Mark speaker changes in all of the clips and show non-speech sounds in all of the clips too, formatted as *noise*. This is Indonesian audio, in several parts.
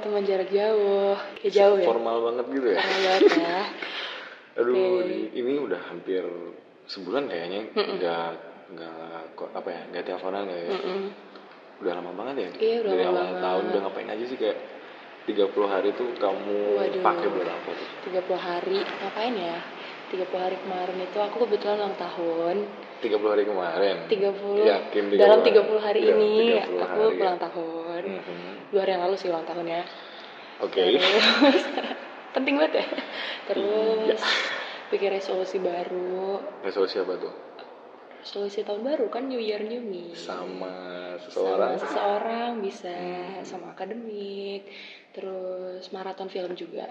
Speaker 1: teman jarak jauh ya jauh ya
Speaker 2: Formal banget gitu ya.
Speaker 1: Formal banget ya
Speaker 2: Aduh,
Speaker 1: Oke.
Speaker 2: ini- ini udah hampir sebulan kayaknya
Speaker 1: Mm-mm.
Speaker 2: nggak nggak ko- apa ya nggak teleponan ya.
Speaker 1: Mm-mm.
Speaker 2: Udah lama banget ya.
Speaker 1: Iya, udah
Speaker 2: Dari
Speaker 1: lama
Speaker 2: awal
Speaker 1: banget.
Speaker 2: tahun udah ngapain aja sih kayak 30 hari tuh kamu
Speaker 1: Waduh.
Speaker 2: pakai buat apa tuh?
Speaker 1: 30 hari ngapain ya 30 hari kemarin itu aku kebetulan ulang tahun
Speaker 2: 30 hari kemarin.
Speaker 1: 30
Speaker 2: Yakin 30
Speaker 1: dalam
Speaker 2: hari?
Speaker 1: 30 hari
Speaker 2: Dalam
Speaker 1: ini
Speaker 2: 30
Speaker 1: aku
Speaker 2: hari ya.
Speaker 1: ulang tahun
Speaker 2: Mhm.
Speaker 1: dua hari yang lalu sih ulang tahunnya
Speaker 2: Oke.
Speaker 1: Terus- *laughs* penting banget ya terus
Speaker 2: Iya.
Speaker 1: bikin resolusi baru
Speaker 2: Resolusi apa tuh?
Speaker 1: resolusi tahun baru kan New Year New Me
Speaker 2: Sama
Speaker 1: Sama
Speaker 2: seseorang.
Speaker 1: seseorang bisa
Speaker 2: Hmm.
Speaker 1: sama akademik terus maraton film juga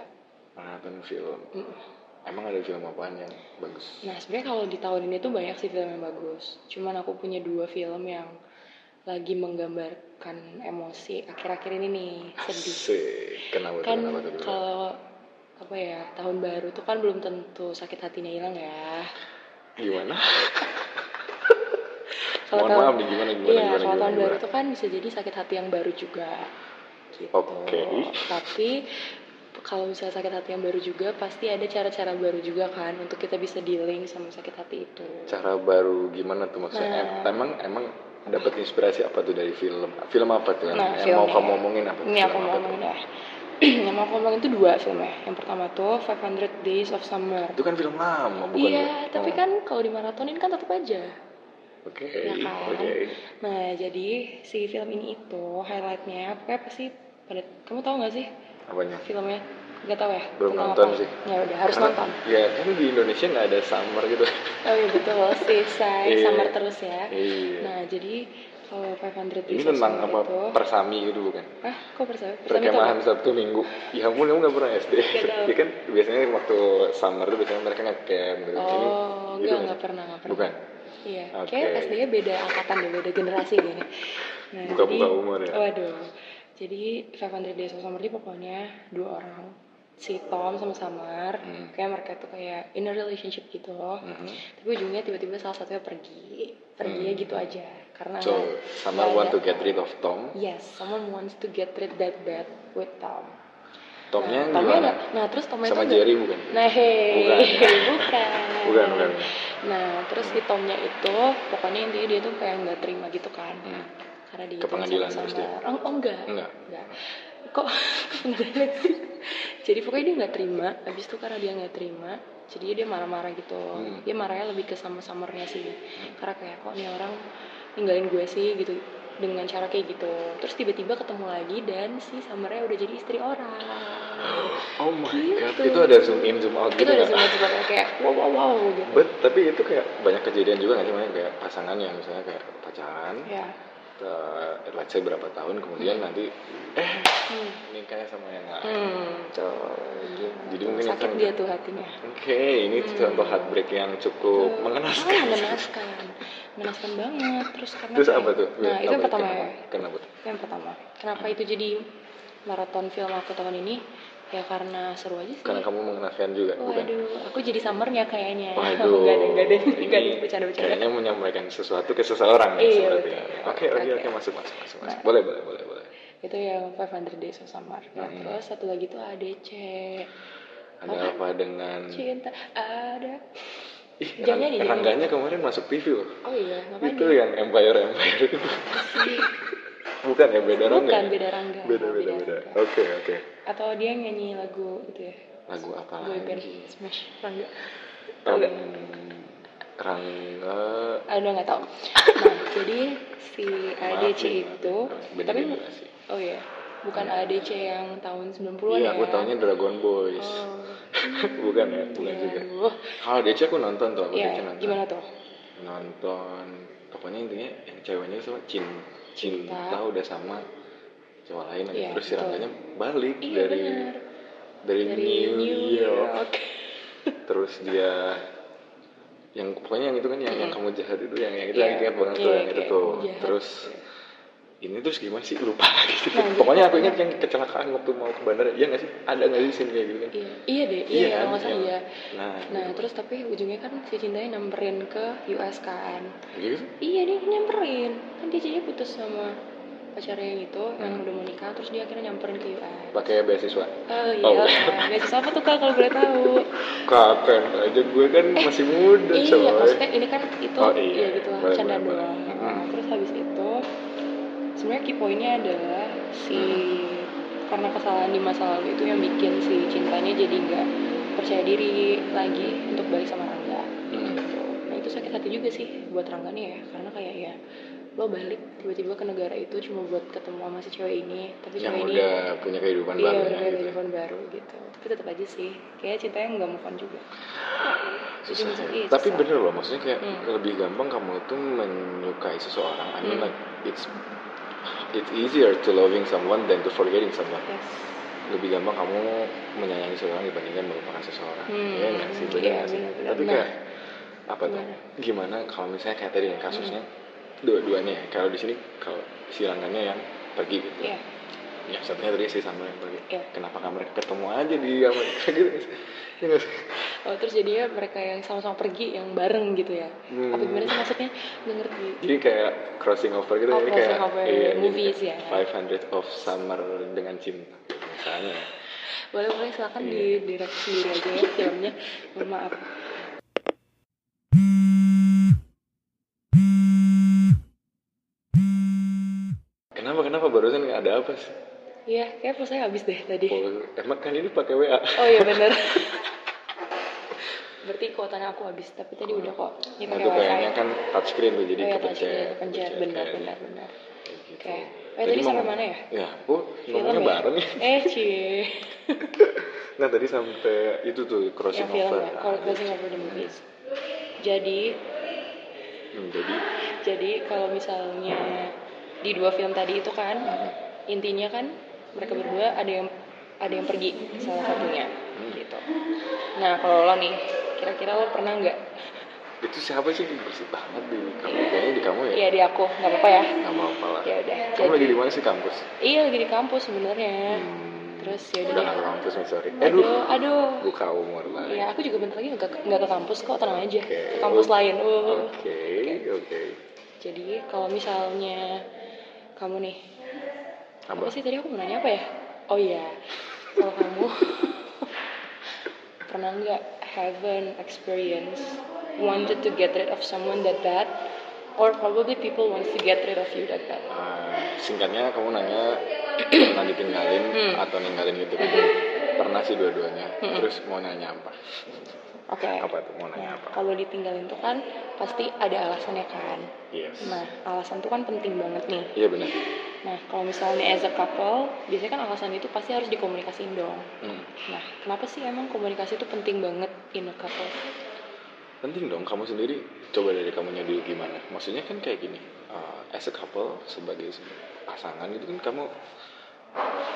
Speaker 2: Maraton film.
Speaker 1: Mm.
Speaker 2: Emang ada film apaan yang bagus?
Speaker 1: nah sebenarnya kalau di tahun ini tuh banyak sih film yang bagus cuman aku punya dua film yang lagi menggambarkan emosi akhir-akhir ini nih Nah, sedih
Speaker 2: Asik. Kenapa tuh?
Speaker 1: kan
Speaker 2: Kenapa tuh? Kenapa?
Speaker 1: kalau apa ya tahun baru tuh kan belum tentu sakit hatinya hilang ya
Speaker 2: Gimana?
Speaker 1: Kalau
Speaker 2: Mohon
Speaker 1: tahun-
Speaker 2: maaf nih gimana gimana
Speaker 1: iya
Speaker 2: gimana
Speaker 1: kalau
Speaker 2: gimana.
Speaker 1: tahun baru
Speaker 2: gimana.
Speaker 1: tuh kan bisa jadi sakit hati yang baru juga gitu
Speaker 2: Oke.
Speaker 1: tapi kalau misalnya sakit hati yang baru juga pasti ada cara-cara baru juga kan untuk kita bisa dealing sama sakit hati itu
Speaker 2: Cara baru gimana tuh maksudnya? Em-
Speaker 1: Nah.
Speaker 2: Emang emang dapat inspirasi apa tuh dari film? Film apa tuh yang,
Speaker 1: Nah,
Speaker 2: yang mau
Speaker 1: filmnya.
Speaker 2: kamu omongin apa?
Speaker 1: ini aku
Speaker 2: Film apa
Speaker 1: mau
Speaker 2: tuh?
Speaker 1: ngomongin ya *clears throat* yang mau aku ngomongin tuh dua filmnya yang pertama tuh 500 Days of Summer
Speaker 2: Itu kan film lama bukan?
Speaker 1: iya
Speaker 2: Oh,
Speaker 1: tapi kan kalau dimaratonin kan tetap aja
Speaker 2: Oke.
Speaker 1: Ya kan?
Speaker 2: Oke.
Speaker 1: Nah, jadi si film ini itu highlightnya pokoknya pasti pada kamu tahu nggak sih
Speaker 2: Apanya?
Speaker 1: filmnya? Gak tahu ya?
Speaker 2: Belum
Speaker 1: Tentang
Speaker 2: nonton
Speaker 1: apa?
Speaker 2: sih.
Speaker 1: Ya udah harus
Speaker 2: Karena-
Speaker 1: nonton.
Speaker 2: Ya kan di Indonesia nggak ada summer
Speaker 1: *laughs*
Speaker 2: gitu.
Speaker 1: Oh iya betul, sih saya
Speaker 2: Iya.
Speaker 1: summer terus ya.
Speaker 2: Iya.
Speaker 1: Nah, jadi kalau 500
Speaker 2: Ini
Speaker 1: Days of
Speaker 2: tentang
Speaker 1: Summer
Speaker 2: apa?
Speaker 1: Itu,
Speaker 2: Persami gitu bukan?
Speaker 1: Hah? Kok bersama? Bersama itu
Speaker 2: perkemahan
Speaker 1: apa?
Speaker 2: Sabtu Minggu. Ya ampun, kamu nggak pernah SD.
Speaker 1: Nggak tahu.
Speaker 2: *laughs* ya kan biasanya waktu summer tuh biasanya mereka ngecamp gitu. Ini
Speaker 1: Oh,
Speaker 2: gitu
Speaker 1: enggak,
Speaker 2: nggak
Speaker 1: enggak
Speaker 2: sih?
Speaker 1: pernah, enggak pernah.
Speaker 2: Bukan.
Speaker 1: Iya,
Speaker 2: Oke.
Speaker 1: kayak SD-nya beda angkatan deh, beda generasi gini. Nah,
Speaker 2: Buka-buka
Speaker 1: jadi-
Speaker 2: umur ya.
Speaker 1: Waduh. Jadi 500 Days of Summer ini pokoknya dua orang si Tom sama Samar
Speaker 2: Hmm.
Speaker 1: kayak mereka tuh kayak in a relationship gitu loh
Speaker 2: Mhm.
Speaker 1: tapi ujungnya tiba-tiba salah satunya pergi perginya gitu aja karena
Speaker 2: Hmm. So, summer
Speaker 1: nggak
Speaker 2: want
Speaker 1: ada-
Speaker 2: to get rid of Tom.
Speaker 1: yes someone wants to get rid that bad with Tom
Speaker 2: Tomnya
Speaker 1: nah, Tomnya
Speaker 2: gimana?
Speaker 1: ada- nah terus Tomnya
Speaker 2: Sama
Speaker 1: tuh ada-
Speaker 2: Jerry bukan?
Speaker 1: Nah, hei,
Speaker 2: Bukan.
Speaker 1: *laughs* bukan.
Speaker 2: Bukan, bukan.
Speaker 1: Nah, terus si Tomnya itu, pokoknya intinya dia tuh kayak nggak terima gitu kan,
Speaker 2: Hmm.
Speaker 1: karena dia
Speaker 2: Ke pengadilan terus dia? Hmm.
Speaker 1: Oh, oh, enggak.
Speaker 2: Enggak.
Speaker 1: Enggak. Kok *laughs* ke pengadilan sih? Jadi pokoknya dia nggak terima. Abis itu karena dia nggak terima, jadi dia marah-marah gitu.
Speaker 2: Hmm.
Speaker 1: Dia marahnya lebih ke sama-samernya sih, karena kayak kok nih orang ninggalin gue sih gitu dengan cara kayak gitu. Terus tiba-tiba ketemu lagi dan si Samernya udah jadi istri orang
Speaker 2: *gasps* Oh my god,
Speaker 1: Gitu.
Speaker 2: itu ada zoom in zoom out
Speaker 1: itu
Speaker 2: gitu
Speaker 1: udah
Speaker 2: nggak?
Speaker 1: sempat sebagai kayak wow wow wow gitu
Speaker 2: But tapi itu kayak banyak kejadian juga nggak sih, Makanya kayak pasangan yang misalnya kayak pacaran,
Speaker 1: ya
Speaker 2: eh, let's say berapa tahun kemudian nanti eh
Speaker 1: hmm.
Speaker 2: nikahnya sama yang lain. gitu.
Speaker 1: hmm tuh gimana
Speaker 2: Jadi
Speaker 1: tuh?
Speaker 2: mungkin ya.
Speaker 1: sakit
Speaker 2: itu-
Speaker 1: dia tuh hatinya
Speaker 2: Oke, ini contoh heartbreak yang cukup
Speaker 1: Tuh.
Speaker 2: Oh, mengenaskan.
Speaker 1: Ah, mengenaskan mengenaskan banget terus karena
Speaker 2: Terus
Speaker 1: kayak-
Speaker 2: apa tuh?
Speaker 1: nah itu yang
Speaker 2: Apa-
Speaker 1: pertama ya
Speaker 2: kenapa? Kenapa? tuh?
Speaker 1: itu yang pertama kenapa itu jadi maraton film aku tahun ini ya karena seru aja sih
Speaker 2: Karena kamu mengenaskan juga, bukan?
Speaker 1: Waduh, aku jadi summernya kayaknya. *laughs*
Speaker 2: Waduh,
Speaker 1: Gak ada, gak ada, gak ada,
Speaker 2: ini
Speaker 1: bercanda-bercanda.
Speaker 2: kayaknya menyampaikan sesuatu ke seseorang ya,
Speaker 1: Iya,
Speaker 2: sepertinya.
Speaker 1: betul.
Speaker 2: Oke, oke,
Speaker 1: Oke.
Speaker 2: oke, masuk, masuk, masuk, masuk.
Speaker 1: Nah.
Speaker 2: Boleh, boleh, boleh, boleh.
Speaker 1: Itu yang 500 Days of Summer. Nah,
Speaker 2: Mm-mm.
Speaker 1: terus satu lagi tuh ADC.
Speaker 2: Ada
Speaker 1: Apaan?
Speaker 2: apa dengan
Speaker 1: Cinta ada.
Speaker 2: Ih,
Speaker 1: Jangan
Speaker 2: Rang-
Speaker 1: nyanyi, jangan
Speaker 2: Rangganya kemarin masuk TV loh.
Speaker 1: Oh iya, ngapain
Speaker 2: Itu ya?
Speaker 1: dia?
Speaker 2: yang Empire Empire itu. Bukan ya beda
Speaker 1: Bukan,
Speaker 2: rangga. ya?
Speaker 1: beda rangga.
Speaker 2: Beda beda
Speaker 1: Beda
Speaker 2: beda.
Speaker 1: rangga.
Speaker 2: Oke oke.
Speaker 1: Atau dia nyanyi lagu itu ya?
Speaker 2: Lagu apa
Speaker 1: Boyband
Speaker 2: lagi?
Speaker 1: Smash Rangga. Tau
Speaker 2: Em,
Speaker 1: nggak?
Speaker 2: Rangga.
Speaker 1: Aduh Ah, nggak
Speaker 2: *laughs*
Speaker 1: tahu. Nah, jadi si ADC
Speaker 2: Maafin,
Speaker 1: itu,
Speaker 2: maafin. Beda
Speaker 1: tapi
Speaker 2: generasi.
Speaker 1: oh iya, bukan ADC yang tahun 90-an
Speaker 2: Iya,
Speaker 1: ya.
Speaker 2: aku tahunya Dragon Boys.
Speaker 1: Oh.
Speaker 2: *laughs* bukan ya, bukan
Speaker 1: Iya,
Speaker 2: juga.
Speaker 1: aduh.
Speaker 2: Kalau DC aku nonton tuh, aku
Speaker 1: Iya,
Speaker 2: DC nonton.
Speaker 1: gimana tuh?
Speaker 2: Nonton, pokoknya intinya yang ceweknya sama Cin,
Speaker 1: Cinta.
Speaker 2: cinta udah sama cewek lain aja.
Speaker 1: Iya,
Speaker 2: Terus si
Speaker 1: betul.
Speaker 2: Rangganya balik
Speaker 1: Iya,
Speaker 2: dari
Speaker 1: benar.
Speaker 2: dari,
Speaker 1: Dari
Speaker 2: New, York.
Speaker 1: Oke.
Speaker 2: Terus dia yang pokoknya yang itu kan yang, yang kamu jahat itu yang yang itu
Speaker 1: Iya.
Speaker 2: yang ingat banget tuh
Speaker 1: Iya,
Speaker 2: yang itu
Speaker 1: kayak
Speaker 2: tuh.
Speaker 1: kamu jahat.
Speaker 2: Terus ini terus gimana sih lupa *laughs* gitu.
Speaker 1: Nah, jadi
Speaker 2: pokoknya aku
Speaker 1: pokoknya-
Speaker 2: ingat yang kecelakaan waktu mau ke bandara iya nggak sih ada nggak sih scene kayak gitu kan
Speaker 1: Iya, iya deh, iya,
Speaker 2: Iya,
Speaker 1: kalau nggak salah
Speaker 2: iya.
Speaker 1: iya.
Speaker 2: nah,
Speaker 1: Nah, terus tapi ujungnya kan si cintanya nyamperin ke US kan.
Speaker 2: gitu
Speaker 1: Iya dia nyamperin kan dia jadinya putus sama pacarnya yang itu yang
Speaker 2: Hmm.
Speaker 1: udah mau nikah terus dia akhirnya nyamperin ke US
Speaker 2: pakai beasiswa
Speaker 1: oh iya
Speaker 2: Oh.
Speaker 1: lah. beasiswa apa tuh kak kalau boleh tahu
Speaker 2: kapan aja gue kan masih muda
Speaker 1: iya
Speaker 2: coy
Speaker 1: maksudnya ini kan itu
Speaker 2: Oh, iya.
Speaker 1: ya gitu lah
Speaker 2: Boleh,
Speaker 1: canda
Speaker 2: boleh, boleh.
Speaker 1: doang Nah,
Speaker 2: Mm-mm.
Speaker 1: terus habis itu sebenarnya key pointnya adalah si karena kesalahan di masa lalu itu yang bikin si cintanya jadi nggak percaya diri lagi untuk balik sama Rangga
Speaker 2: Hmm.
Speaker 1: gitu. nah itu sakit hati juga sih buat Rangga nih ya karena kayak ya lo balik tiba-tiba ke negara itu cuma buat ketemu sama si cewek ini tapi
Speaker 2: yang
Speaker 1: cewek ini
Speaker 2: udah punya kehidupan
Speaker 1: iya
Speaker 2: baru
Speaker 1: udah
Speaker 2: ya,
Speaker 1: ada
Speaker 2: gitu.
Speaker 1: handphone baru gitu tapi tetap aja sih kayak cintanya nggak move on juga Jadi
Speaker 2: Susah
Speaker 1: maksud-
Speaker 2: ya.
Speaker 1: iya,
Speaker 2: tapi
Speaker 1: susah.
Speaker 2: bener loh maksudnya kayak
Speaker 1: Hmm.
Speaker 2: lebih gampang kamu itu menyukai seseorang I mean
Speaker 1: Hmm.
Speaker 2: like it's it's easier to loving someone than to forgetting someone
Speaker 1: yes
Speaker 2: lebih gampang kamu menyayangi seseorang dibandingkan melupakan seseorang
Speaker 1: Hmm.
Speaker 2: Iya nggak sih bener
Speaker 1: Iya,
Speaker 2: nggak sih?
Speaker 1: benar-benar.
Speaker 2: tapi
Speaker 1: Nah.
Speaker 2: kayak apa tuh
Speaker 1: Gimana?
Speaker 2: gimana kalau misalnya kayak tadi yang kasusnya
Speaker 1: Hmm.
Speaker 2: dua-duanya ya. kalau di sini kalau silangannya yang pergi gitu
Speaker 1: iya
Speaker 2: yang satunya tadi sih sama yang pergi
Speaker 1: Iya.
Speaker 2: kenapa nggak mereka ketemu aja di *laughs* Amerika gitu ya nggak sih
Speaker 1: Oh, terus jadinya mereka yang sama-sama pergi yang bareng gitu ya?
Speaker 2: Hmm.
Speaker 1: Apa gimana sih maksudnya? Nggak ngerti.
Speaker 2: jadi kayak crossing over gitu
Speaker 1: Oh,
Speaker 2: jadi
Speaker 1: crossing
Speaker 2: kayak
Speaker 1: over
Speaker 2: jadi
Speaker 1: movies
Speaker 2: kayak
Speaker 1: ya.
Speaker 2: 500 of summer dengan cinta misalnya
Speaker 1: Boleh boleh silakan
Speaker 2: Iya.
Speaker 1: di direct sendiri aja ya filmnya. Mohon maaf.
Speaker 2: kenapa kenapa barusan nggak ada apa sih
Speaker 1: Iya, kayak pulsanya habis deh tadi.
Speaker 2: Oh, emang kan ini pakai WA
Speaker 1: Oh iya bener. Berarti kuotanya aku habis, tapi tadi udah kok. Ini
Speaker 2: Nah,
Speaker 1: pakai
Speaker 2: itu
Speaker 1: wifi.
Speaker 2: kayaknya kan touchscreen tuh jadi kan.
Speaker 1: oh, iya, tadi
Speaker 2: kepencet
Speaker 1: kepencet. Benar, benar, benar. Oke.
Speaker 2: Oke.
Speaker 1: Eh, tadi sampai mana ya?
Speaker 2: Ya, oh, ngomongnya
Speaker 1: ya?
Speaker 2: bareng *laughs* ya.
Speaker 1: Eh, cie.
Speaker 2: Nah, tadi sampai itu tuh crossing
Speaker 1: Yang film
Speaker 2: over. Hmm.
Speaker 1: ya,
Speaker 2: Ah,
Speaker 1: kalau crossing over the movies. Jadi,
Speaker 2: hmm, jadi
Speaker 1: Jadi kalau misalnya di dua film tadi itu kan
Speaker 2: hmm,
Speaker 1: intinya kan mereka berdua ada yang ada yang pergi salah satunya
Speaker 2: Hmm.
Speaker 1: gitu. Nah kalau lo nih kira-kira lo pernah nggak?
Speaker 2: itu siapa sih bersih banget di kamu kayaknya di kamu ya?
Speaker 1: Iya di aku nggak apa-apa ya.
Speaker 2: Nggak apa-apa lah.
Speaker 1: Ya udah.
Speaker 2: kamu
Speaker 1: Jadi
Speaker 2: lagi di mana sih kampus?
Speaker 1: iya lagi di kampus sebenarnya.
Speaker 2: Hmm,
Speaker 1: Terus ya
Speaker 2: udah nggak ke kampus nih sorry. Eh,
Speaker 1: Aduh
Speaker 2: dulu
Speaker 1: aduh.
Speaker 2: buka umur lah.
Speaker 1: Ya aku juga bentar lagi nggak ke- nggak ke kampus kok tenang aja.
Speaker 2: Oke. Oh.
Speaker 1: Ke Kampus lain. Uh.
Speaker 2: Oke, oke.
Speaker 1: Jadi kalau misalnya kamu nih
Speaker 2: Apa?
Speaker 1: Apa sih tadi aku mau nanya apa ya? Oh iya, kalau kamu *laughs* pernah nggak have an experience wanted to get rid of someone that bad, or probably people wants to get rid of you that bad?
Speaker 2: Ah, singkatnya kamu nanya *clears throat* pernah ditinggalin
Speaker 1: Hmm.
Speaker 2: atau ninggalin gitu kan? Pernah sih dua-duanya. Terus mau nanya apa?
Speaker 1: Oke.
Speaker 2: Apa tuh mau nanya
Speaker 1: Nah,
Speaker 2: apa?
Speaker 1: kalau ditinggalin tuh kan pasti ada alasannya kan.
Speaker 2: Yes.
Speaker 1: Nah, alasan tuh kan penting banget nih.
Speaker 2: Iya benar.
Speaker 1: Nah, kalau misalnya as a couple, biasanya kan alasan itu pasti harus dikomunikasiin dong.
Speaker 2: Hmm.
Speaker 1: Nah, kenapa sih emang komunikasi itu penting banget in a couple?
Speaker 2: Penting dong kamu sendiri coba dari kamunya dulu gimana? Maksudnya kan kayak gini, uh, as a couple sebagai se- pasangan gitu kan kamu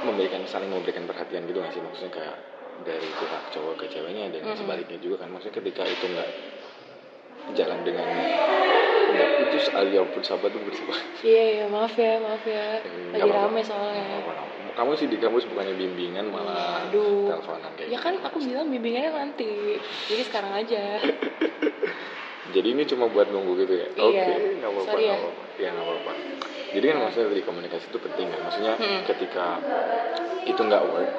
Speaker 2: memberikan saling memberikan perhatian gitu nggak sih maksudnya kayak dari pihak cowok ke ceweknya dan
Speaker 1: Mm-mm.
Speaker 2: sebaliknya juga kan maksudnya ketika itu nggak jalan dengan nggak putus ah, alias putus apa tuh putus apa?
Speaker 1: Iya iya maaf ya maaf ya
Speaker 2: *laughs* Iya,
Speaker 1: lagi
Speaker 2: Nggak apa-apa.
Speaker 1: rame
Speaker 2: Nggak
Speaker 1: soalnya.
Speaker 2: apa-apa. Kamu sih di kampus bukannya bimbingan malah
Speaker 1: Aduh.
Speaker 2: teleponan kayak
Speaker 1: Ya
Speaker 2: gitu.
Speaker 1: kan aku bilang bimbingannya nanti, jadi sekarang aja.
Speaker 2: Jadi ini cuma buat nunggu gitu ya?
Speaker 1: Iya.
Speaker 2: Oke, nggak apa-apa,
Speaker 1: Sorry ya.
Speaker 2: nggak apa-apa. Iya, nggak apa-apa. Jadi kan maksudnya dari komunikasi itu penting kan? Maksudnya
Speaker 1: Mm-mm.
Speaker 2: ketika itu nggak work,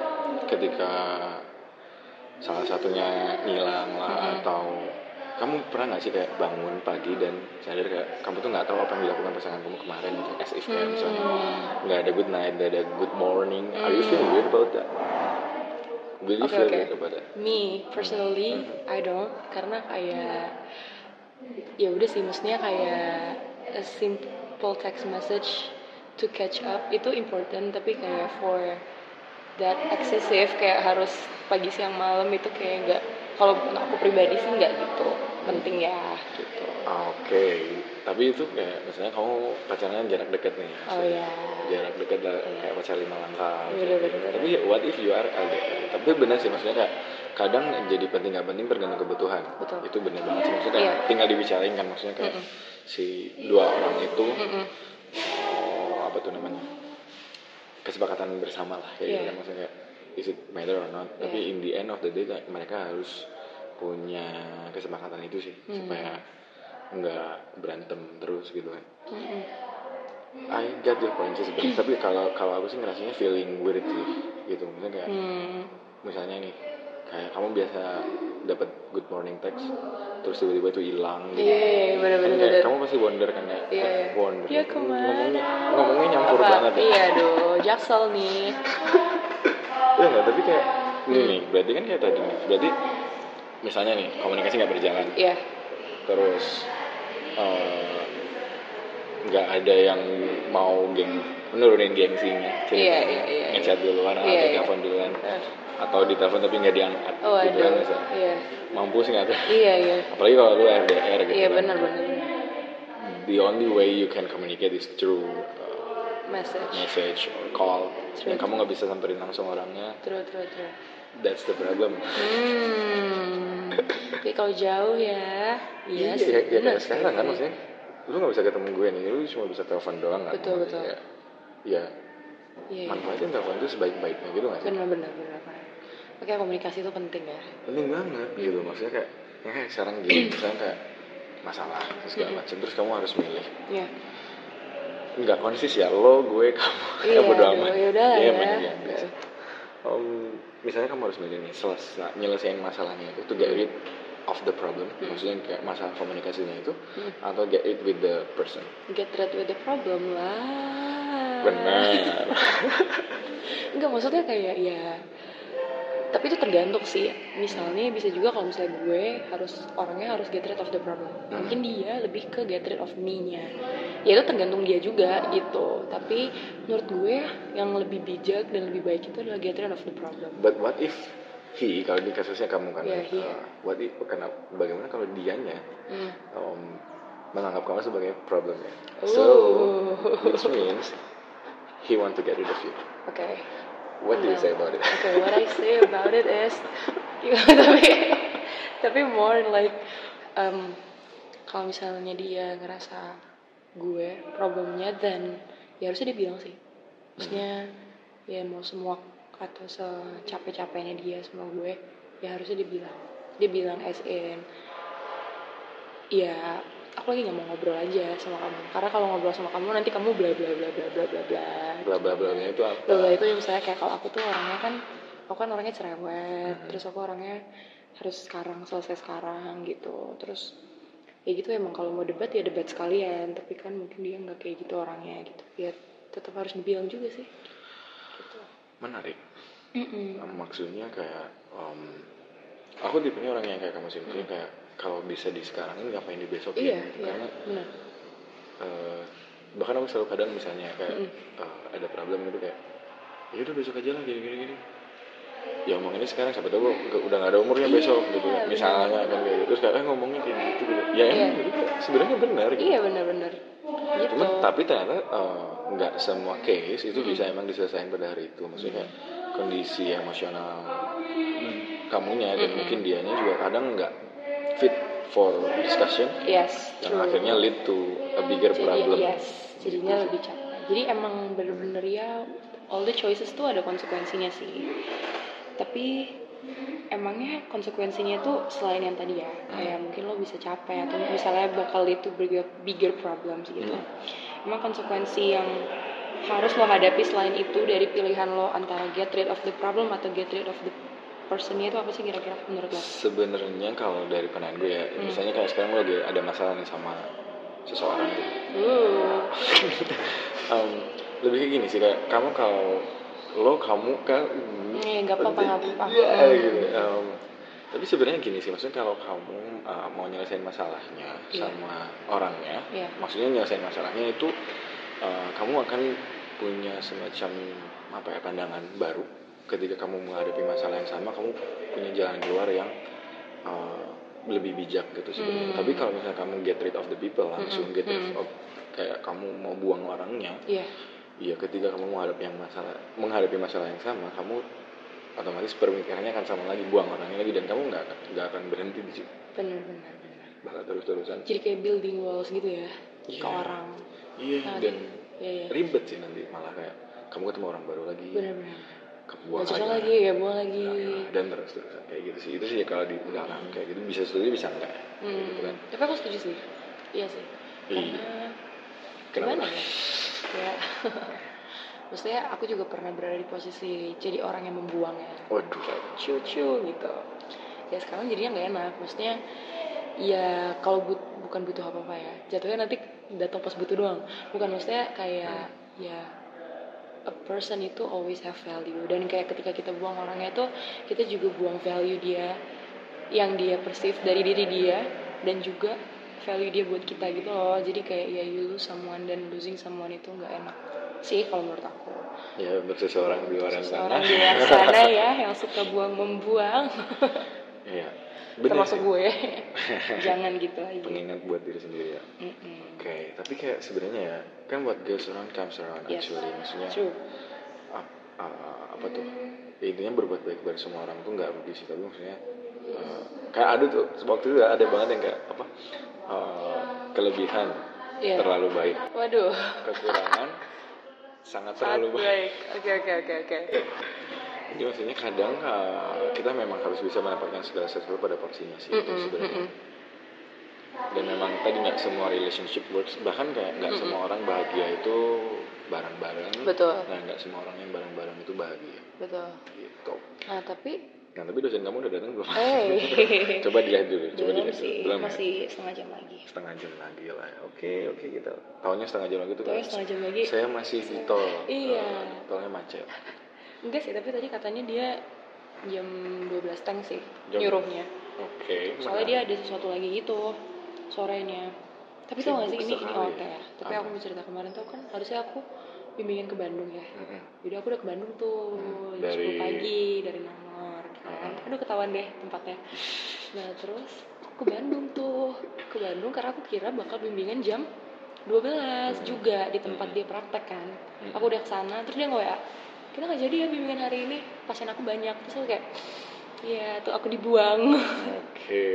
Speaker 2: ketika salah satunya ngilang lah
Speaker 1: Mm-mm.
Speaker 2: atau kamu pernah nggak sih kayak bangun pagi dan sadar kayak kamu tuh nggak tahu apa yang dilakukan pasangan kamu kemarin gitu, as if kayak misalnya
Speaker 1: Hmm.
Speaker 2: nggak ada good night, nggak ada good morning. Are you feeling weird about that? Will you
Speaker 1: Oke,
Speaker 2: feel
Speaker 1: oke.
Speaker 2: weird about that?
Speaker 1: Me personally I don't karena kayak ya udah sih maksudnya kayak a simple text message to catch up itu important tapi kayak for that excessive kayak harus pagi siang malam itu kayak nggak kalau aku pribadi sih nggak gitu penting ya gitu.
Speaker 2: Oke, tapi itu kayak misalnya kamu pacaran jarak dekat nih.
Speaker 1: Oh ya.
Speaker 2: Jarak dekat lah, kayak pacar lima langkah.
Speaker 1: Iya, iya,
Speaker 2: gitu.
Speaker 1: iya, iya.
Speaker 2: Tapi ya, what if you are LDR? Tapi benar sih maksudnya kayak kadang jadi penting nggak penting tergantung kebutuhan.
Speaker 1: Betul.
Speaker 2: Itu benar banget sih maksudnya kayak
Speaker 1: Iya.
Speaker 2: tinggal dibicarain kan maksudnya kayak si dua orang itu
Speaker 1: Mm-mm.
Speaker 2: oh, apa tuh namanya kesepakatan bersama lah kayak gitu
Speaker 1: Iya.
Speaker 2: kan maksudnya kayak is it matter or not? Tapi in the end of the day kayak mereka harus punya kesepakatan
Speaker 1: Hmm.
Speaker 2: itu sih supaya nggak berantem terus gitu kan.
Speaker 1: Mm-mm.
Speaker 2: I get your point sih sebenarnya. Tapi kalau kalau aku sih ngerasanya feeling weird sih, gitu. Misalnya kayak,
Speaker 1: Hmm,
Speaker 2: misalnya nih, kayak kamu biasa dapat good morning text, terus tiba-tiba itu hilang. Gitu.
Speaker 1: iya
Speaker 2: Kan
Speaker 1: bener-bener.
Speaker 2: kayak
Speaker 1: bener.
Speaker 2: kamu pasti wonder kan kayak,
Speaker 1: Iya,
Speaker 2: eh,
Speaker 1: iya.
Speaker 2: wonder.
Speaker 1: Ya kemana?
Speaker 2: ngomongnya, ngomongnya nyampur
Speaker 1: Apa?
Speaker 2: banget. ya.
Speaker 1: Iya aduh, jaksel nih.
Speaker 2: Iya nggak, tapi kayak ini
Speaker 1: Hmm.
Speaker 2: nih, berarti kan kayak tadi nih, berarti misalnya nih komunikasi nggak berjalan,
Speaker 1: Iya.
Speaker 2: terus eh, nggak ada yang mau geng menurunin gengsinya,
Speaker 1: Iya,
Speaker 2: ceritanya,
Speaker 1: iya, iya,
Speaker 2: ngechat duluan, atau
Speaker 1: Iya, iya.
Speaker 2: telepon duluan,
Speaker 1: Eh,
Speaker 2: atau ditelepon tapi nggak diangkat,
Speaker 1: Oh
Speaker 2: gitu kan
Speaker 1: aduh.
Speaker 2: biasa.
Speaker 1: Iya.
Speaker 2: Mampus nggak tuh?
Speaker 1: Iya iya.
Speaker 2: Apalagi kalau lu RDR gitu
Speaker 1: Iya
Speaker 2: kan.
Speaker 1: benar-benar.
Speaker 2: The only way you can communicate is through uh,
Speaker 1: Message.
Speaker 2: message or call.
Speaker 1: True.
Speaker 2: Dan kamu nggak bisa samperin langsung orangnya.
Speaker 1: True true true.
Speaker 2: That's the problem.
Speaker 1: Hmm. Tapi kalau jauh ya. Iya sih.
Speaker 2: ya, ya
Speaker 1: bener
Speaker 2: kayak
Speaker 1: sih.
Speaker 2: sekarang kan maksudnya lu gak bisa ketemu gue nih lu cuma bisa telepon doang kan
Speaker 1: Betul, betul.
Speaker 2: ya, ya
Speaker 1: Iya. iya.
Speaker 2: manfaatin telepon itu sebaik-baiknya gitu gak sih
Speaker 1: Benar-benar benar. Makanya komunikasi itu penting ya.
Speaker 2: penting banget gitu maksudnya kayak ya kayak sekarang gini
Speaker 1: *clears throat*
Speaker 2: misalnya kayak masalah terus segala
Speaker 1: Mm-mm.
Speaker 2: macam terus kamu harus milih
Speaker 1: Iya.
Speaker 2: nggak konsis ya lo gue kamu *laughs*
Speaker 1: Iya,
Speaker 2: ya bodo
Speaker 1: aduh,
Speaker 2: amat
Speaker 1: ya udahlah ya.
Speaker 2: emang, iya, biasa. Om, misalnya kamu harus milih nih selesai nyelesain masalahnya itu to get rid of the problem
Speaker 1: Hmm.
Speaker 2: maksudnya kayak masalah komunikasinya itu
Speaker 1: Mm.
Speaker 2: atau get rid with the person
Speaker 1: Get rid with the problem lah.
Speaker 2: benar
Speaker 1: Enggak maksudnya kayak ya tapi itu tergantung sih misalnya bisa juga kalau misalnya gue harus orangnya harus get rid of the problem mungkin dia lebih ke get rid of me nya ya itu tergantung dia juga gitu tapi menurut gue yang lebih bijak dan lebih baik itu adalah get rid of the problem
Speaker 2: But what if he kalau di kasusnya kamu kan,
Speaker 1: Yeah, Iya, he.
Speaker 2: uh, what if karena bagaimana kalau dianya
Speaker 1: hmm.
Speaker 2: um, menganggap kamu sebagai problem ya?
Speaker 1: Ooh.
Speaker 2: So which means he want to get rid of you.
Speaker 1: oke
Speaker 2: What do you
Speaker 1: Well,
Speaker 2: say about it? *laughs*
Speaker 1: okay what I say about it is *laughs* tapi tapi more like um, kalau misalnya dia ngerasa gue problemnya dan ya harusnya dia bilang sih maksudnya ya mau semua atau secapek-capeknya dia sama gue ya harusnya dia bilang dia bilang as in ya aku lagi nggak mau ngobrol aja sama kamu karena kalau ngobrol sama kamu nanti kamu bla bla bla bla bla bla bla
Speaker 2: Bla bla bla itu apa?
Speaker 1: Lola itu yang misalnya kayak kalau aku tuh orangnya kan aku kan orangnya cerewet terus aku orangnya harus sekarang selesai sekarang gitu terus ya gitu emang kalau mau debat ya debat sekalian tapi kan mungkin dia nggak kayak gitu orangnya gitu ya tetap harus dibilang juga sih gitu
Speaker 2: Menarik.
Speaker 1: Mm-mm.
Speaker 2: Um, maksudnya kayak um, aku tipenya orang yang kayak kamu sih, maksudnya kayak kalau bisa di sekarang ini ngapain di besok
Speaker 1: iya iya
Speaker 2: Karena
Speaker 1: benar
Speaker 2: eh, bahkan aku selalu kadang misalnya kayak
Speaker 1: Mm.
Speaker 2: eh, ada problem gitu kayak ya udah besok aja lah gini gini gini ya ngomonginnya sekarang siapa tahu nggak- udah nggak ada umurnya
Speaker 1: Iya,
Speaker 2: besok gitu kan.
Speaker 1: bener.
Speaker 2: misalnya kan kayak gitu sekarang ngomongnya kayak gitu gitu ya emang
Speaker 1: Iya.
Speaker 2: gitu kayak sebenarnya benar gitu
Speaker 1: iya benar benar gitu
Speaker 2: cuman tapi ternyata eh, nggak semua case itu bisa emang diselesaikan pada hari itu maksudnya kayak kondisi emosional kamunya dan mungkin dianya juga kadang nggak fit for discussion
Speaker 1: yes
Speaker 2: yang
Speaker 1: true.
Speaker 2: akhirnya lead to a bigger
Speaker 1: jadi iya,
Speaker 2: problem
Speaker 1: yes jadinya lebih capek jadi emang bener-bener ya all the choices tuh ada konsekuensinya sih tapi emangnya konsekuensinya itu selain yang tadi ya kayak mungkin lo bisa capek atau misalnya bakal itu bigger bigger problems gitu emang konsekuensi yang harus lo hadapi selain itu dari pilihan lo antara get rid of the problem atau get rid of the personnya itu apa sih kira-kira menurut lo?
Speaker 2: Sebenarnya kalau dari pandangan gue ya, misalnya kayak sekarang gue lagi ada masalah nih sama seseorang. gitu.
Speaker 1: Uh,
Speaker 2: Em, lebih kayak gini sih kayak kamu kalau lo kamu kan
Speaker 1: Iya, nggak apa-apa, nggak apa-apa. Hmm.
Speaker 2: Iya, gitu. Em, tapi sebenarnya gini sih, maksudnya kalau kamu eh, mau nyelesain masalahnya
Speaker 1: Iya.
Speaker 2: sama orangnya,
Speaker 1: Iya.
Speaker 2: maksudnya nyelesain masalahnya itu eh, kamu akan punya semacam apa ya pandangan baru ketika kamu menghadapi masalah yang sama, kamu punya jalan keluar yang eh, lebih bijak gitu sebenarnya.
Speaker 1: Hmm.
Speaker 2: Tapi kalau misalnya kamu get rid of the people langsung
Speaker 1: Mm-mm,
Speaker 2: get rid
Speaker 1: mm.
Speaker 2: of kayak kamu mau buang orangnya,
Speaker 1: iya,
Speaker 2: Iya, ketika kamu menghadapi yang masalah menghadapi masalah yang sama, kamu otomatis pemikirannya akan sama lagi, buang orangnya lagi dan kamu nggak akan- nggak akan berhenti di situ,
Speaker 1: benar-benar. benar.
Speaker 2: bakal terus-terusan.
Speaker 1: Jadi kayak building walls gitu ya
Speaker 2: Iya.
Speaker 1: ke orang.
Speaker 2: Iya,
Speaker 1: Nah,
Speaker 2: dan
Speaker 1: Iya, iya.
Speaker 2: ribet sih nanti malah kayak kamu ketemu orang baru lagi,
Speaker 1: Benar-benar.
Speaker 2: kamu buang
Speaker 1: Baca
Speaker 2: lagi,
Speaker 1: lagi ya, buang lagi.
Speaker 2: Nah, dan terus-terusan kayak gitu sih. Itu sih kalau di dalam kayak gitu bisa setuju bisa enggak.
Speaker 1: Hmm.
Speaker 2: Gitu kan.
Speaker 1: Tapi aku setuju sih. Iya sih.
Speaker 2: Iya.
Speaker 1: Karena
Speaker 2: Kenapa?
Speaker 1: gimana ya? kayak *laughs* maksudnya aku juga pernah berada di posisi jadi orang yang ya. membuangnya
Speaker 2: Waduh.
Speaker 1: cucu gitu ya sekarang jadinya nggak enak maksudnya ya kalau but- bukan butuh apa apa ya jatuhnya nanti datang pas butuh doang bukan maksudnya kayak ya a person itu always have value dan kayak ketika kita buang orangnya itu kita juga buang value dia yang dia perceive dari diri dia dan juga value dia buat kita gitu loh jadi kayak ya you lose someone dan losing someone itu nggak enak sih kalau menurut aku
Speaker 2: Ya untuk seseorang di luar sana.
Speaker 1: seorang di luar sana ya yang suka buang membuang
Speaker 2: Iya. *laughs* Bener
Speaker 1: termasuk
Speaker 2: sih. *laughs*
Speaker 1: gue jangan gitu lagi
Speaker 2: Pengingat buat diri sendiri ya.
Speaker 1: Mm-mm.
Speaker 2: Oke, tapi kayak sebenarnya ya kan what goes around comes around
Speaker 1: Yes.
Speaker 2: actually maksudnya
Speaker 1: True.
Speaker 2: ap- a- apa tuh Ya, intinya berbuat baik kepada semua orang tuh nggak rugi sih tapi maksudnya eh, kayak ada tuh waktu itu ada banget yang kayak apa eh, kelebihan
Speaker 1: Iya.
Speaker 2: terlalu baik
Speaker 1: Waduh.
Speaker 2: kekurangan sangat terlalu baik
Speaker 1: Oke oke oke oke.
Speaker 2: Jadi maksudnya kadang eh, kita memang harus bisa menempatkan segala sesuatu pada porsinya sih itu
Speaker 1: Mm-mm,
Speaker 2: sebenarnya.
Speaker 1: mm-mm.
Speaker 2: Dan memang tadi nggak semua relationship works bahkan kayak nggak semua orang bahagia itu bareng-bareng.
Speaker 1: Betul.
Speaker 2: Nah nggak semua orang yang bareng-bareng itu bahagia.
Speaker 1: Betul.
Speaker 2: Gitu.
Speaker 1: Nah
Speaker 2: *laughs*
Speaker 1: tapi,
Speaker 2: Nah tapi dosen kamu udah datang belum?
Speaker 1: hey.
Speaker 2: *laughs* Coba dilihat dulu.
Speaker 1: *laughs*
Speaker 2: Coba
Speaker 1: Eh. belum
Speaker 2: dilihat dulu.
Speaker 1: sih,
Speaker 2: Belum ya?
Speaker 1: masih setengah jam lagi.
Speaker 2: Setengah jam lagi lah. Oke oke gitu. Tahunnya setengah jam lagi tuh.
Speaker 1: Tapi
Speaker 2: kan?
Speaker 1: setengah jam lagi.
Speaker 2: Saya masih di tol.
Speaker 1: Iya.
Speaker 2: Eh, tolnya macet.
Speaker 1: Enggak sih, tapi tadi katanya dia jam 12 teng sih
Speaker 2: Jam-
Speaker 1: nyuruhnya.
Speaker 2: Oke.
Speaker 1: Soalnya
Speaker 2: mana?
Speaker 1: dia ada sesuatu lagi gitu sorenya. Tapi tau gak sih
Speaker 2: Sibuk
Speaker 1: ini ini
Speaker 2: sekali
Speaker 1: OT
Speaker 2: ya.
Speaker 1: ya. Tapi
Speaker 2: Apa?
Speaker 1: aku mau cerita kemarin tuh kan harusnya aku bimbingan ke Bandung ya.
Speaker 2: Mm-mm.
Speaker 1: Jadi aku udah ke Bandung tuh
Speaker 2: Hmm,
Speaker 1: jam
Speaker 2: dari-
Speaker 1: 10 pagi dari Nangor kan.
Speaker 2: Hmm.
Speaker 1: Aduh ketahuan deh tempatnya. Nah terus aku ke Bandung tuh ke Bandung karena aku kira bakal bimbingan jam 12 juga di tempat
Speaker 2: Hmm.
Speaker 1: dia praktek kan.
Speaker 2: Hmm.
Speaker 1: Aku udah kesana terus dia nge WA kita nggak jadi ya bimbingan hari ini pasien aku banyak terus aku kayak ya tuh aku dibuang *laughs*
Speaker 2: Oke.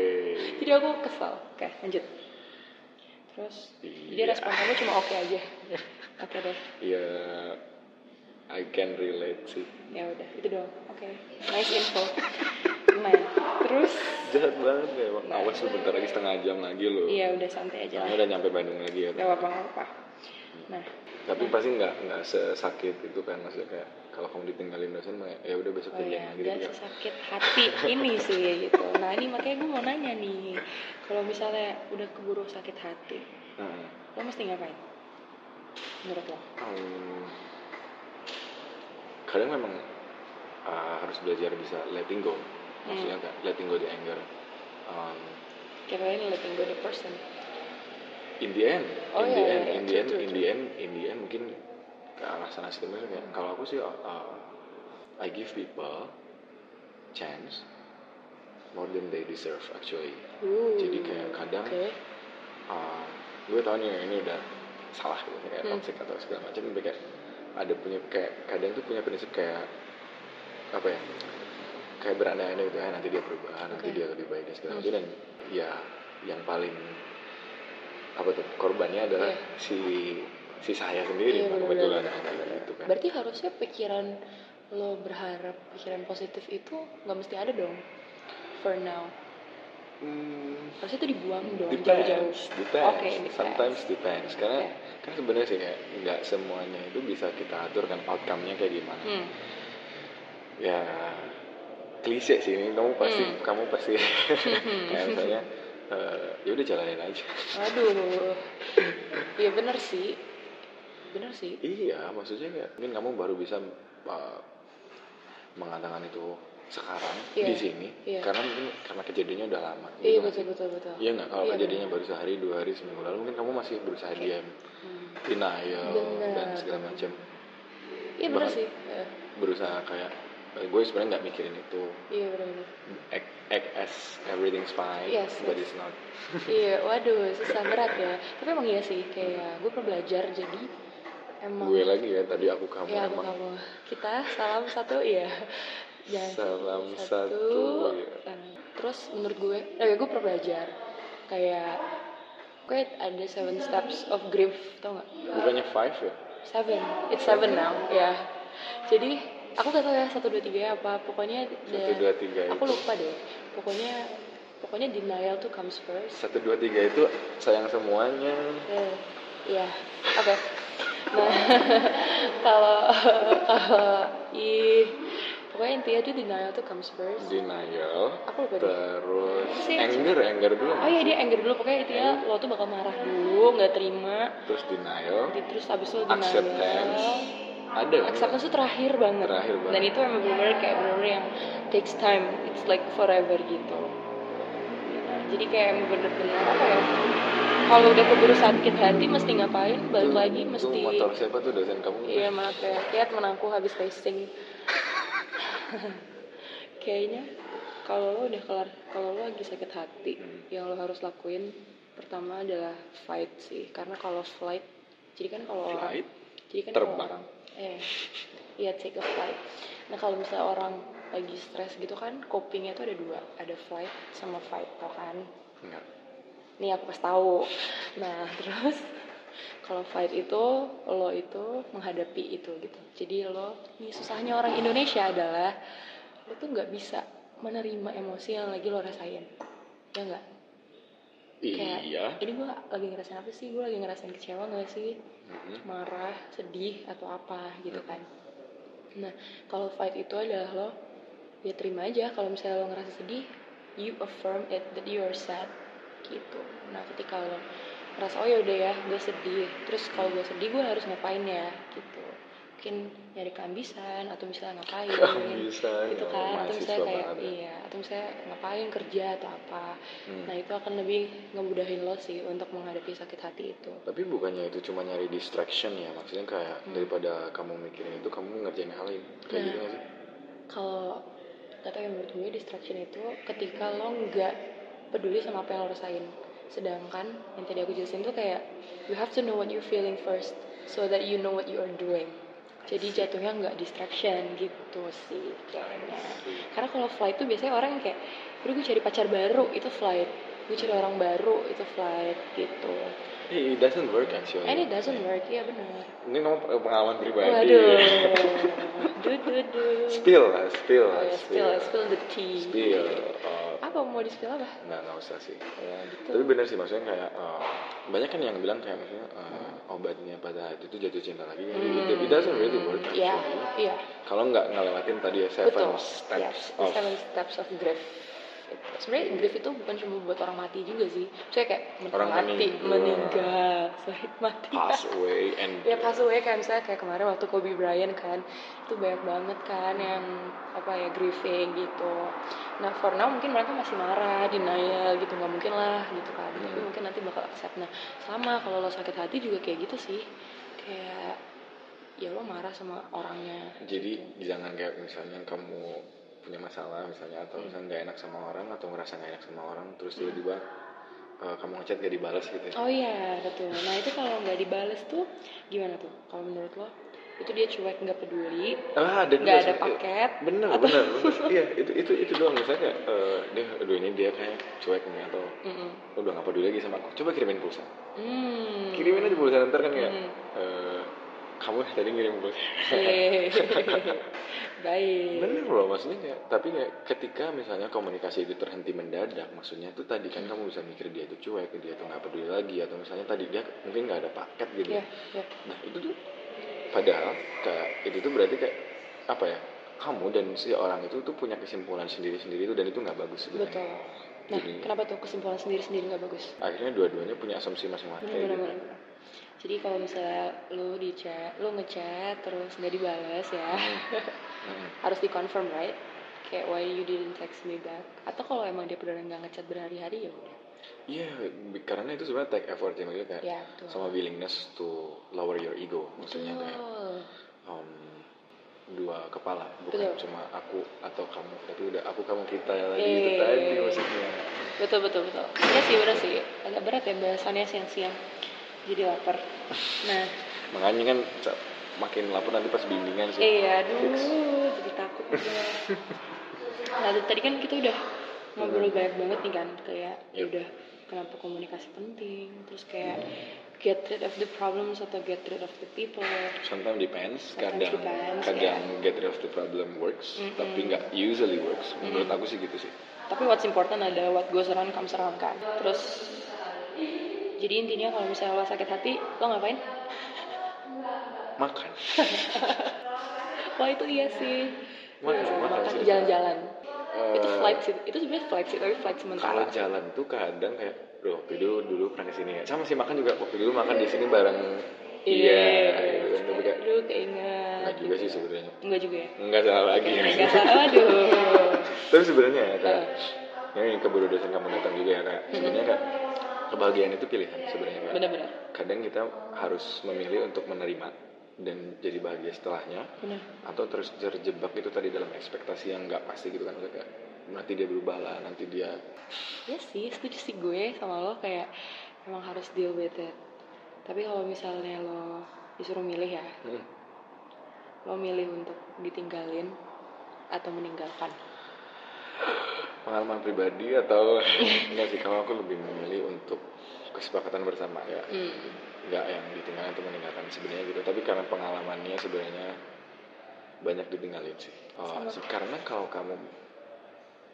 Speaker 1: jadi aku kesel oke lanjut terus jadi
Speaker 2: Iya.
Speaker 1: respon kamu cuma oke aja oke deh
Speaker 2: Ya, I can relate sih.
Speaker 1: ya udah itu doang oke nice info lumayan terus
Speaker 2: Jahat banget ya, Bang.
Speaker 1: Nah.
Speaker 2: Awas lu bentar lagi setengah jam lagi lo.
Speaker 1: iya udah santai aja
Speaker 2: Soalnya
Speaker 1: lah
Speaker 2: udah nyampe Bandung lagi ya.
Speaker 1: nggak apa nggak apa nah
Speaker 2: Tapi pasti nggak nggak sesakit itu kan maksudnya kayak kalau kamu ditinggalin dosen mah ya udah besok
Speaker 1: Oh ya,
Speaker 2: kerjaan lagi gitu
Speaker 1: dan
Speaker 2: kan.
Speaker 1: sesakit hati ini sih gitu. Nah ini makanya gue mau nanya nih, kalau misalnya udah keburu sakit hati,
Speaker 2: Nah,
Speaker 1: lo mesti ngapain? Menurut lo?
Speaker 2: em, Hmm. kadang memang ah, harus belajar bisa letting go. Maksudnya
Speaker 1: Hmm.
Speaker 2: kayak letting go the anger. Um, Em,
Speaker 1: Kayaknya letting go the person.
Speaker 2: in the end,
Speaker 1: Oh,
Speaker 2: in
Speaker 1: iya,
Speaker 2: the
Speaker 1: iya,
Speaker 2: end,
Speaker 1: iya.
Speaker 2: in the
Speaker 1: True,
Speaker 2: end,
Speaker 1: true,
Speaker 2: in
Speaker 1: true.
Speaker 2: the end, in the end mungkin ke arah sana sih Tapi kayak kalau aku sih uh, I give people chance more than they deserve actually.
Speaker 1: Ooh,
Speaker 2: Jadi kayak kadang-
Speaker 1: oke.
Speaker 2: Uh, gue tau nih ini udah salah gitu kayak
Speaker 1: Hmm.
Speaker 2: toxic atau segala macam tapi kayak ada punya kayak kadang tuh punya prinsip kayak apa ya kayak berandai-andai gitu ya nanti dia berubah
Speaker 1: Oke.
Speaker 2: nanti dia lebih baik dan segala
Speaker 1: Hmm.
Speaker 2: macam dan ya yang paling apa tuh korbannya adalah
Speaker 1: Iya.
Speaker 2: si si saya sendiri
Speaker 1: Iya,
Speaker 2: Pak, kebetulan
Speaker 1: benar-benar.
Speaker 2: gitu kan
Speaker 1: Berarti harusnya pikiran lo berharap pikiran positif itu nggak mesti ada dong. For now,
Speaker 2: Hmm,
Speaker 1: harusnya itu dibuang dong jauh-jauh.
Speaker 2: depends depends
Speaker 1: Oke, depends.
Speaker 2: sometimes depends karena
Speaker 1: Oke.
Speaker 2: kan sebenarnya sih kayak nggak semuanya itu bisa kita atur kan outcome-nya kayak gimana *laughs*
Speaker 1: Hmm.
Speaker 2: ya klise sih ini kamu pasti
Speaker 1: Hmm.
Speaker 2: kamu
Speaker 1: *laughs*
Speaker 2: pasti
Speaker 1: Hmm.
Speaker 2: kayak misalnya eh, ya udah jalanin aja *laughs*
Speaker 1: Waduh, iya bener sih, bener sih.
Speaker 2: iya maksudnya kayak mungkin kamu baru bisa eh, mengatakan itu sekarang
Speaker 1: Iya,
Speaker 2: di sini
Speaker 1: iya.
Speaker 2: karena mungkin karena kejadiannya udah lama
Speaker 1: Iya
Speaker 2: gitu nggak
Speaker 1: betul
Speaker 2: sih?
Speaker 1: betul betul.
Speaker 2: iya nggak kalau
Speaker 1: Iya,
Speaker 2: kejadiannya
Speaker 1: bener.
Speaker 2: baru sehari dua hari seminggu lalu mungkin kamu masih berusaha diam
Speaker 1: Hmm.
Speaker 2: denial
Speaker 1: Bener.
Speaker 2: dan segala macam
Speaker 1: Iya bener
Speaker 2: Bahkan-
Speaker 1: sih. Eh,
Speaker 2: berusaha kayak eh, gue sebenarnya nggak mikirin itu
Speaker 1: Iya bener bener.
Speaker 2: act, act as everything's fine
Speaker 1: Yes,
Speaker 2: but
Speaker 1: yes.
Speaker 2: it's not
Speaker 1: Iya, waduh susah berat ya. Tapi emang iya sih, kayak gue pernah belajar jadi emang.
Speaker 2: gue lagi ya tadi aku kamu
Speaker 1: Ya aku
Speaker 2: emang
Speaker 1: kamu. Kita salam satu ya. Jangan
Speaker 2: Salam satu, ya.
Speaker 1: Eh, Terus menurut gue, eh, gue pernah belajar kayak gue ada seven steps of grief, tau gak?
Speaker 2: bukannya five ya
Speaker 1: Seven, it's seven now, ya. Jadi aku gak tau ya satu dua tiga ya apa, pokoknya
Speaker 2: satu
Speaker 1: da-
Speaker 2: dua tiga
Speaker 1: aku
Speaker 2: itu
Speaker 1: lupa deh. Pokoknya pokoknya denial tuh comes first.
Speaker 2: satu dua tiga itu sayang semuanya
Speaker 1: Eh, Iya, Hmm, oke. Nah, *laughs* kalau kalau ih pokoknya intinya tuh denial tuh comes first.
Speaker 2: denial
Speaker 1: Aku lupa deh.
Speaker 2: terus
Speaker 1: Sih.
Speaker 2: anger anger dulu
Speaker 1: Oh iya dia anger dulu pokoknya intinya lo tuh bakal marah dulu, nggak terima,
Speaker 2: terus denial
Speaker 1: di- terus abis lo denial.
Speaker 2: acceptance ada kan?
Speaker 1: Acceptance tuh terakhir banget.
Speaker 2: Terakhir banget.
Speaker 1: Dan itu emang bener kayak bener yang takes time, it's like forever gitu. Jadi kayak emang bener-bener apa ya? Kalau udah keburu sakit hati mesti ngapain? Balik
Speaker 2: Tuh,
Speaker 1: lagi
Speaker 2: tuh
Speaker 1: mesti
Speaker 2: motor siapa tuh dosen kamu
Speaker 1: Iya maaf ya, ya temen aku habis
Speaker 2: *laughs*
Speaker 1: racing Kayaknya kalau lo udah kelar, kalau lo lagi sakit hati
Speaker 2: Hmm.
Speaker 1: Yang lo harus lakuin pertama adalah fight sih Karena kalau flight, jadi kan kalau orang
Speaker 2: Flight?
Speaker 1: Jadi kan
Speaker 2: Terbang.
Speaker 1: kalau orang eh, Iya take a flight Nah kalau misalnya orang lagi stres gitu kan Copingnya tuh ada dua, ada flight sama fight tau kan
Speaker 2: Enggak.
Speaker 1: Nih aku kasih tahu. Nah, *laughs* terus kalau fight itu lo itu menghadapi itu gitu. Jadi lo nih susahnya orang Indonesia adalah lo tuh nggak bisa menerima emosi yang lagi lo rasain. Ya enggak? Kayak,
Speaker 2: Iya.
Speaker 1: Ini gue lagi ngerasain apa sih? Gue lagi ngerasain kecewa nggak sih?
Speaker 2: Mhm.
Speaker 1: Iya. marah, sedih atau apa gitu kan.
Speaker 2: Hmm.
Speaker 1: Nah, kalau fight itu adalah lo ya terima aja kalau misalnya lo ngerasa sedih, you affirm it that you are sad gitu. Nah, ketika lo ngerasa oh ya udah ya, gue sedih. Terus kalau gue sedih gue harus ngapain ya gitu. Mungkin nyari keambisan atau misalnya ngapain
Speaker 2: Keambisan,
Speaker 1: gitu
Speaker 2: ya,
Speaker 1: kan atau
Speaker 2: mahasiswa
Speaker 1: misalnya kayak
Speaker 2: banget ya.
Speaker 1: iya atau misalnya ngapain kerja atau apa
Speaker 2: Hmm.
Speaker 1: nah itu akan lebih ngemudahin lo sih untuk menghadapi sakit hati itu
Speaker 2: Tapi bukannya itu cuma nyari distraction ya maksudnya kayak
Speaker 1: Hmm.
Speaker 2: daripada kamu mikirin itu kamu ngerjain hal lain kayak
Speaker 1: Nah.
Speaker 2: gitu nggak sih?
Speaker 1: kalau kata yang menurut gue distraction itu ketika lo nggak peduli sama apa yang lo rasain sedangkan yang tadi aku jelasin tuh kayak you have to know what you're feeling first so that you know what you are doing jadi jatuhnya nggak distraction gitu sih kayaknya karena kalau flight tuh biasanya orang yang kayak udah gue cari pacar baru itu flight gue cari orang baru itu flight gitu
Speaker 2: Eh, it doesn't work actually.
Speaker 1: and it doesn't work ya benar
Speaker 2: Ini nomor pengalaman pribadi.
Speaker 1: waduh *laughs* duh duh duh
Speaker 2: Spill lah, spill
Speaker 1: Oh
Speaker 2: lah,
Speaker 1: ya, spill, spill the tea.
Speaker 2: Spill. Oh,
Speaker 1: Apa mau di spill apa?
Speaker 2: nggak nggak usah sih.
Speaker 1: Ya gitu.
Speaker 2: Tapi bener sih maksudnya kayak eh, banyak kan yang bilang kayak maksudnya eh, obatnya patah hati itu jatuh cinta lagi kan.
Speaker 1: Hmm.
Speaker 2: It doesn't really work. actually.
Speaker 1: Iya, iya.
Speaker 2: Kalau nggak ngelewatin tadi ya seven
Speaker 1: Betul. Yes,
Speaker 2: steps
Speaker 1: the
Speaker 2: of
Speaker 1: seven steps of grief. Itu. Sebenarnya grief itu bukan cuma buat orang mati juga sih. Saya kayak men-
Speaker 2: Orang
Speaker 1: mati,
Speaker 2: meninggal.
Speaker 1: meninggal, selain mati.
Speaker 2: pass away and
Speaker 1: ya pas away kayak misalnya kayak kemarin waktu Kobe Bryant kan itu banyak banget kan yang apa ya grieving gitu nah for now mungkin mereka masih marah denial gitu nggak mungkin lah gitu kan tapi
Speaker 2: Hmm.
Speaker 1: mungkin nanti bakal accept nah sama kalau lo sakit hati juga kayak gitu sih kayak ya lo marah sama orangnya
Speaker 2: Jadi jangan kayak misalnya kamu punya masalah
Speaker 1: Hmm.
Speaker 2: misalnya atau misalnya nggak enak sama orang atau ngerasa nggak enak sama orang terus tiba-tiba eh, kamu ngechat gak dibalas gitu ya.
Speaker 1: oh iya betul nah itu kalau nggak dibales tuh gimana tuh kalau menurut lo itu dia cuek nggak peduli
Speaker 2: Ah, ada
Speaker 1: nggak
Speaker 2: juga
Speaker 1: ada
Speaker 2: sih.
Speaker 1: paket
Speaker 2: Bener, bener, bener. Iya, itu itu itu doang misalnya kayak eh, dia aduh ini dia kayak cuek nih atau "Oh,
Speaker 1: Mm-mm.
Speaker 2: udah gak peduli lagi sama aku. Coba kirimin pulsa.
Speaker 1: hmm.
Speaker 2: Kirimin aja pulsa ntar kan kayak
Speaker 1: Hmm.
Speaker 2: eh, kamu tadi ngirim pulsa.
Speaker 1: Yeay. Baik.
Speaker 2: Bener loh maksudnya kayak, tapi kayak ketika misalnya komunikasi itu terhenti mendadak maksudnya itu tadi kan
Speaker 1: Hmm.
Speaker 2: kamu bisa mikir dia itu cuek dia tuh nggak peduli lagi atau misalnya tadi dia mungkin nggak ada paket gitu
Speaker 1: Ya,
Speaker 2: ya.
Speaker 1: ya.
Speaker 2: nah itu tuh padahal kayak itu tuh berarti kayak apa ya kamu dan si orang itu tuh punya kesimpulan sendiri-sendiri itu dan itu nggak bagus
Speaker 1: Betul.
Speaker 2: sebenarnya
Speaker 1: Nah,
Speaker 2: Jadi-
Speaker 1: kenapa tuh kesimpulan sendiri-sendiri nggak bagus?
Speaker 2: akhirnya dua-duanya punya asumsi masing-masing kayak gitu.
Speaker 1: Iya, Benar-benar. Jadi kalau misalnya lu di chat, lu ngechat terus nggak dibales ya,
Speaker 2: Mm-mm.
Speaker 1: harus dikonfirm right? Kayak why you didn't text me back? Atau kalau emang dia beneran nggak ngechat berhari-hari ya udah.
Speaker 2: Iya, bi- karena itu sebenarnya take effort ya maksudnya kayak
Speaker 1: Ya, betul.
Speaker 2: sama willingness to lower your ego maksudnya ya? kayak
Speaker 1: Betul.
Speaker 2: um, dua kepala bukan
Speaker 1: Betul.
Speaker 2: cuma aku atau kamu tapi udah aku kamu kita lagi
Speaker 1: Eh.
Speaker 2: itu tadi maksudnya
Speaker 1: Betul betul betul. Iya sih bener sih. Agak berat ya bahasannya siang-siang. Jadi lapar. Nah,
Speaker 2: makanya kan ca- makin lapar nanti pas bimbingan sih
Speaker 1: Iya, aduh, jadi takut gue. Nah, itu tadi kan kita udah ngobrol
Speaker 2: Iya.
Speaker 1: banyak banget nih kan, kayak
Speaker 2: Yep.
Speaker 1: udah kenapa komunikasi penting, terus kayak get rid of the problems atau get rid of the people.
Speaker 2: sometimes
Speaker 1: Sometimes
Speaker 2: depends kadang
Speaker 1: depends,
Speaker 2: kadang get rid of the problem works
Speaker 1: Mm-mm.
Speaker 2: tapi nggak usually works menurut aku sih gitu sih
Speaker 1: Tapi what's important adalah what goes around comes around kan. Terus jadi intinya kalau misalnya lo sakit hati, lo ngapain?
Speaker 2: makan
Speaker 1: Wah itu iya sih.
Speaker 2: Makan,
Speaker 1: Eh,
Speaker 2: makan
Speaker 1: makan
Speaker 2: sih.
Speaker 1: jalan-jalan.
Speaker 2: Eh,
Speaker 1: itu flight sih. Itu sebenarnya flight sih, tapi flight
Speaker 2: kalau
Speaker 1: sementara.
Speaker 2: jalan tuh kadang kayak Duh, waktu dulu dulu pernah kesini ya sama sih makan juga waktu dulu makan di sini bareng
Speaker 1: aduh,
Speaker 2: gitu kan. tapi kayak
Speaker 1: Iya, Aduh, keinget.
Speaker 2: enggak juga sih sebenarnya
Speaker 1: Enggak juga ya.
Speaker 2: enggak salah lagi
Speaker 1: Enggak salah. Ah, Aduh.
Speaker 2: *laughs* tapi sebenarnya ya kayak
Speaker 1: Eh,
Speaker 2: ya, yang keburu dosen kamu datang juga ya kayak sebenarnya kayak kebahagiaan itu pilihan sebenarnya Kak.
Speaker 1: Benar-benar.
Speaker 2: kadang kita harus memilih untuk menerima dan jadi bahagia setelahnya
Speaker 1: Benar.
Speaker 2: atau terus terjebak itu tadi dalam ekspektasi yang nggak pasti gitu kan kayak nanti dia berubah lah nanti dia
Speaker 1: Ya sih, setuju sih gue sama lo kayak emang harus deal with it. Tapi kalau misalnya lo disuruh milih ya,
Speaker 2: hmm,
Speaker 1: lo milih untuk ditinggalin atau meninggalkan.
Speaker 2: pengalaman pribadi
Speaker 1: *laughs*
Speaker 2: atau enggak sih kalau aku lebih memilih untuk kesepakatan bersama ya
Speaker 1: Hmm.
Speaker 2: nggak yang ditinggalkan atau meninggalkan sebenarnya gitu tapi karena pengalamannya sebenarnya banyak ditinggalin sih Oh,
Speaker 1: Sama.
Speaker 2: se- karena kalau kamu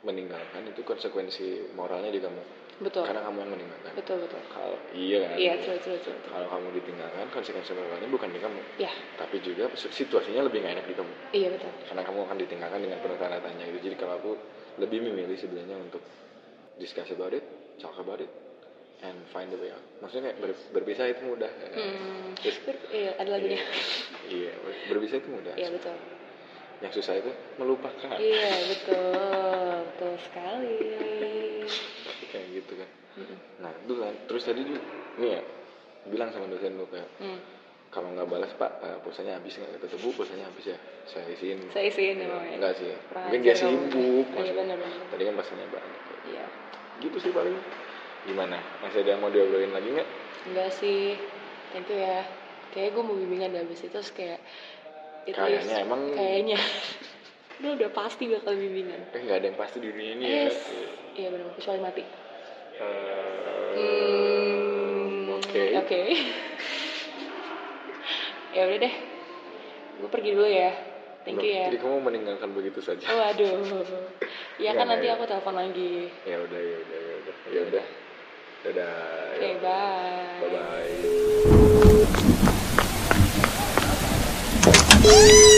Speaker 2: meninggalkan itu konsekuensi moralnya di kamu
Speaker 1: Betul.
Speaker 2: karena kamu yang meninggalkan
Speaker 1: Betul, betul.
Speaker 2: kalau iya kan
Speaker 1: Iya, true, true, true. true.
Speaker 2: kalau kamu ditinggalkan konsekuensi moralnya bukan di kamu
Speaker 1: Ya,
Speaker 2: tapi juga su- situasinya lebih nggak enak di kamu
Speaker 1: iya betul.
Speaker 2: karena kamu akan ditinggalkan dengan penuh tanda tanya gitu jadi kalau aku lebih memilih sebenarnya untuk discuss about it talk about it and find the way out maksudnya kayak ber- berpisah itu mudah ya kan?
Speaker 1: Hmm.
Speaker 2: Terus-
Speaker 1: Ber- Iya, ada lagunya.
Speaker 2: Iya, ber- berpisah itu mudah.
Speaker 1: Iya betul.
Speaker 2: Yang susah itu melupakan.
Speaker 1: Iya betul, betul sekali.
Speaker 2: Kayak gitu kan.
Speaker 1: Mm-mm.
Speaker 2: Nah, itu kan. Terus tadi juga, nih ya, bilang sama dosen lu kayak
Speaker 1: Hmm.
Speaker 2: kalau nggak balas pak eh, pulsanya habis nggak kata bu pulsanya habis ya saya isiin
Speaker 1: Saya isiin
Speaker 2: Iya,
Speaker 1: emang ya.
Speaker 2: enggak sih
Speaker 1: Kurang
Speaker 2: mungkin dia
Speaker 1: ajar kamu.
Speaker 2: sibuk
Speaker 1: Iya
Speaker 2: maksudnya.
Speaker 1: benar-benar.
Speaker 2: tadi kan pasannya banyak
Speaker 1: Iya.
Speaker 2: gitu sih paling gimana masih ada yang mau diobrolin lagi nggak
Speaker 1: Enggak sih. Thank you ya. Kayaknya gue mau bimbingan dari abis itu terus kayak it
Speaker 2: Kayaknya
Speaker 1: leaves-
Speaker 2: emang-
Speaker 1: kayaknya. *laughs* Lu udah pasti bakal bimbingan.
Speaker 2: eh nggak ada yang pasti di dunia ini ya
Speaker 1: Yes. Iya benar, kecuali mati.
Speaker 2: Eh,
Speaker 1: Hmm,
Speaker 2: oke
Speaker 1: Oke. *laughs* ya udah deh. Gue pergi dulu ya. Thank you
Speaker 2: Loh,
Speaker 1: ya.
Speaker 2: jadi kamu meninggalkan begitu
Speaker 1: *laughs*
Speaker 2: saja
Speaker 1: Waduh. Ya
Speaker 2: Nggak,
Speaker 1: kan nanti
Speaker 2: nggak,
Speaker 1: aku telepon lagi.
Speaker 2: ya udah ya udah ya udah ya udah dadah
Speaker 1: Oke,
Speaker 2: ya.
Speaker 1: bye.
Speaker 2: bye bye